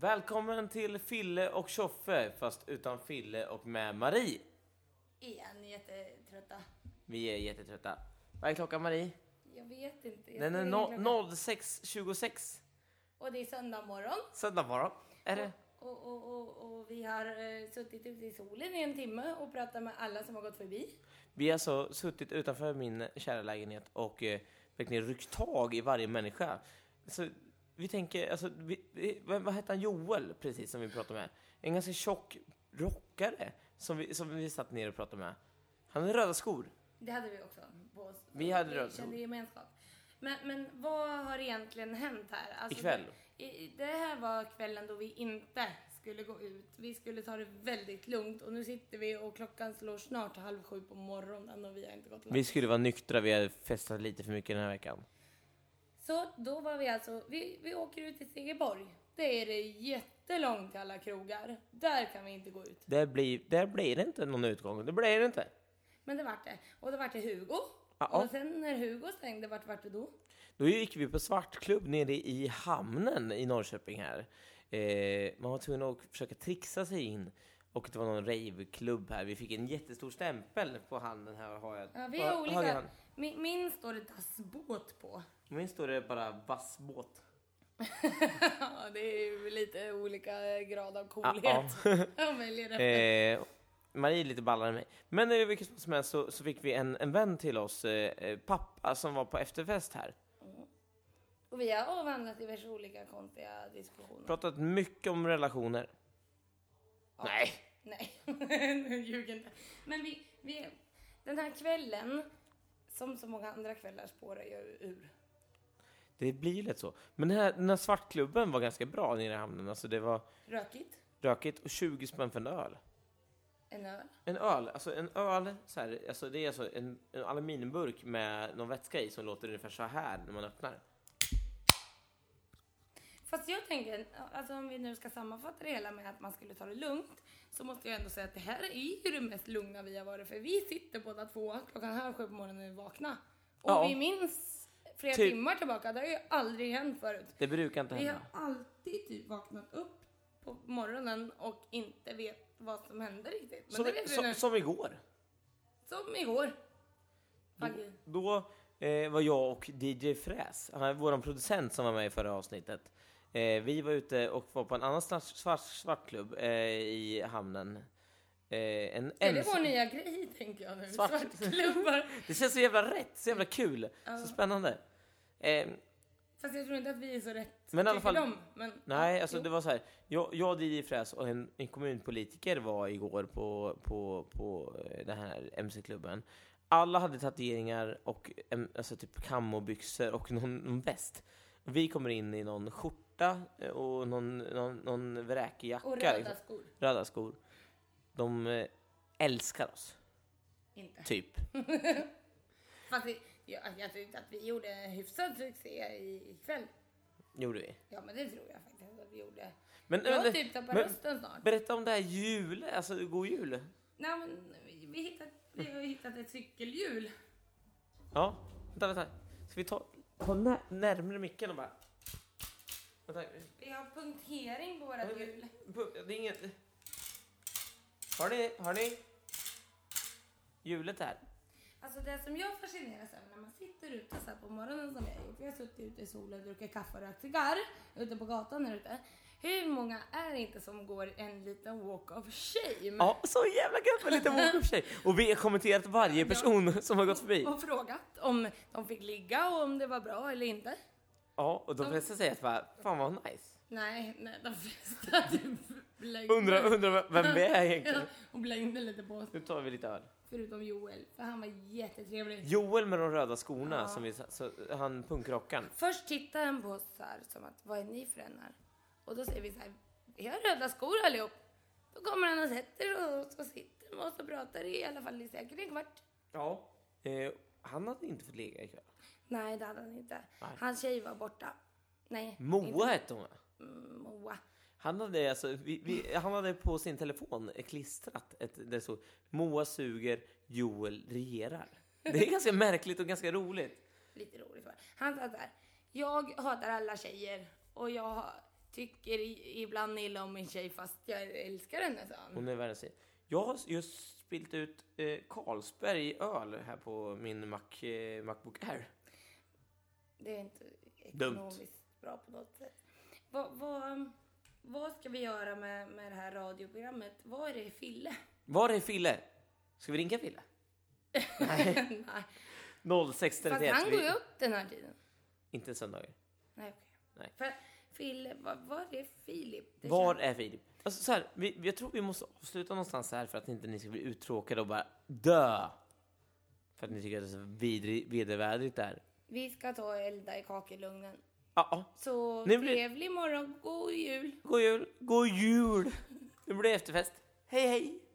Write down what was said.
Välkommen till Fille och Tjoffe, fast utan Fille och med Marie. Igen jättetrötta. Vi är jättetrötta. Vad är klockan Marie? Jag vet inte. Jag Den är tror no- klockan- 06.26 Och det är söndag morgon. söndag morgon. Är det? Och, och, och, och vi har eh, suttit ute i solen i en timme och pratat med alla som har gått förbi. Vi har alltså suttit utanför min kära lägenhet och eh, verkligen ryckt tag i varje människa. Så vi tänker, alltså, vi, vi, vad, vad hette han, Joel precis som vi pratade med? En ganska tjock rockare som vi, som vi satt ner och pratade med. Han har röda skor. Det hade vi också på oss. Vi hade vi rökt. kände gemenskap. Men, men vad har egentligen hänt här? Alltså, Ikväll. Det, i- det här var kvällen då vi inte skulle gå ut. Vi skulle ta det väldigt lugnt och nu sitter vi och klockan slår snart halv sju på morgonen och vi har inte gått och Vi skulle vara nyktra, vi har festat lite för mycket den här veckan. Så då var vi alltså, vi, vi åker ut till Segeborg. Där är det jättelångt till alla krogar. Där kan vi inte gå ut. Där blir, där blir det inte någon utgång, det blir det inte. Men det vart det. Och det vart det Hugo. Ja. Och sen när Hugo stängde, vart vart det då? Då gick vi på svartklubb nere i hamnen i Norrköping här. Eh, man var tvungen att försöka trixa sig in. Och det var någon raveklubb här. Vi fick en jättestor stämpel på handen här. Har jag, Ja, vi på är hö- höger hand. olika. Min, min står det dassbåt på. Min står det bara vassbåt. Ja, det är ju lite olika grad av Ja, coolhet. ja. Jag väljer efter. Eh, Marie är lite ballare än mig. Men i vilket fall som helst så, så fick vi en, en vän till oss, eh, eh, pappa, som var på efterfest här. Och vi har avhandlat diverse olika konstiga diskussioner. Pratat mycket om relationer. Ja. Nej, Nej, nu ljug inte. Men vi, vi, den här kvällen, som så många andra kvällar, spårar jag ju ur. det blir ju lätt så. Men den här, den här svartklubben var ganska bra nere i hamnen. Alltså det var Rökigt, rökigt och 20 spänn för en öl. en öl. En öl, alltså en öl, så här, alltså det är alltså en, en aluminiumburk med någon vätska i som låter ungefär så här när man öppnar. Fast jag tänker, alltså om vi nu ska sammanfatta det hela med att man skulle ta det lugnt, så måste jag ändå säga att det här är ju det mest lugna vi har varit, för vi sitter båda två klockan halv sju på morgonen när vi vaknar. Och Ja. vi minns flera Typ. timmar tillbaka, det har ju aldrig hänt förut. Det brukar inte Vi hända. har alltid typ vaknat upp på morgonen och inte vet vad som hände riktigt. Men Som, det vet vi som, nu. som igår. Som igår. Då, Faktiskt. då eh, var jag och DJ Fräs, han är vår producent som var med i förra avsnittet. Eh, vi var ute och var på en annan svart, svart, svartklubb eh, i hamnen. Eh, en Är det ens- vår nya grej tänker jag nu? Svart- Svartklubbar. det känns så jävla rätt, så jävla kul, så spännande. Eh, Fast jag tror inte att vi är så rätt. Men i alla tycker fall- de, men, Nej, alltså Jo. det var så här. Jag, jag DJ Fräs och en, en kommunpolitiker var igår på, på, på eh, den här MC-klubben. Alla hade tatueringar och em, alltså typ kammobyxor och någon, någon väst. Vi kommer in i någon skjorta eh, och någon, någon, någon vräkjacka. Och röda liksom. skor. röda skor. De eh, älskar oss, Inte. typ. Fast vi, jag, jag tyckte att vi gjorde en hyfsad succé i- ikväll. Gjorde vi. Ja men det tror jag faktiskt att vi gjorde. Men, Jag har men- typ tappat men- rösten snart. berätta om det här hjulet, alltså god jul. Nej men vi, vi, hittat, vi har hittat ett cykelhjul. Ja, vänta, vänta. Ska vi ta, ta när, närmare micken och bara... Vänta. Vi har punktering på våra hjul. pu- Det är inget... Har ni, har ni hjulet här? Alltså det som jag fascineras över när man sitter ute så här på morgonen som jag har gjort. Vi har suttit ute i solen, druckit kaffe och rökt cigarr ute på gatan här ute. Hur många är det inte som går en liten walk of shame? Ja, så jävla gött med lite walk of shame. Och vi har kommenterat varje person som har gått förbi. Och frågat om de fick ligga och om det var bra eller inte. Ja, och de flesta säger att bara, fan vad nice. Nej, nej de flesta typ blängde. Undrar undra vem vi är egentligen. Ja, och blängde lite på oss. Nu tar vi lite öl. Förutom Joel, för han var jättetrevlig. Joel med de röda skorna, som vi, sa- så, han punkrockaren. Först tittar han på oss så här som att vad är ni för en här? Och då säger vi så här, vi har röda skor allihop. Då kommer han och sätter sig och så sitter de och så pratar i alla fall i säkert en kvart. Ja. Eh, han hade inte fått ligga ikväll. Nej, det hade han inte. Nej. Hans tjej var borta. Nej. Moa inte- hette hon va? Mm, Moa. Han hade, alltså, vi, vi, han hade på sin telefon klistrat ett, där det stod Moa suger, Joel regerar. Det är ganska märkligt och ganska roligt. Lite roligt var det. Han sa så här, jag hatar alla tjejer och jag, tycker i- ibland illa om min tjej fast jag älskar henne, sa han. Hon är världens fin. Jag har just spilt ut eh, Carlsberg i öl här på min Mac, eh, Macbook Air. Det är inte ekonomiskt bra på något sätt. Vad, vad, vad ska vi göra med, med det här radioprogrammet? Vad är det Fille? Var är Fille? Ska vi ringa Fille? Nej. Nej. Fast 0631. han Vi- går ju upp den här tiden. Inte söndagar. Nej, okej. Nej. För Fille, vad, vad är Filip? Det Var känns- är Filip? Alltså så här, vi, jag tror vi måste avsluta någonstans här för att inte ni ska bli uttråkade och bara dö. För att ni tycker att det är så vidri, vederväderligt där. Vi ska ta och elda i kakelugnen. Ja, ja. Så Nu blir- trevlig morgon, god jul! God jul! God jul! Nu blir det efterfest. Hej, hej!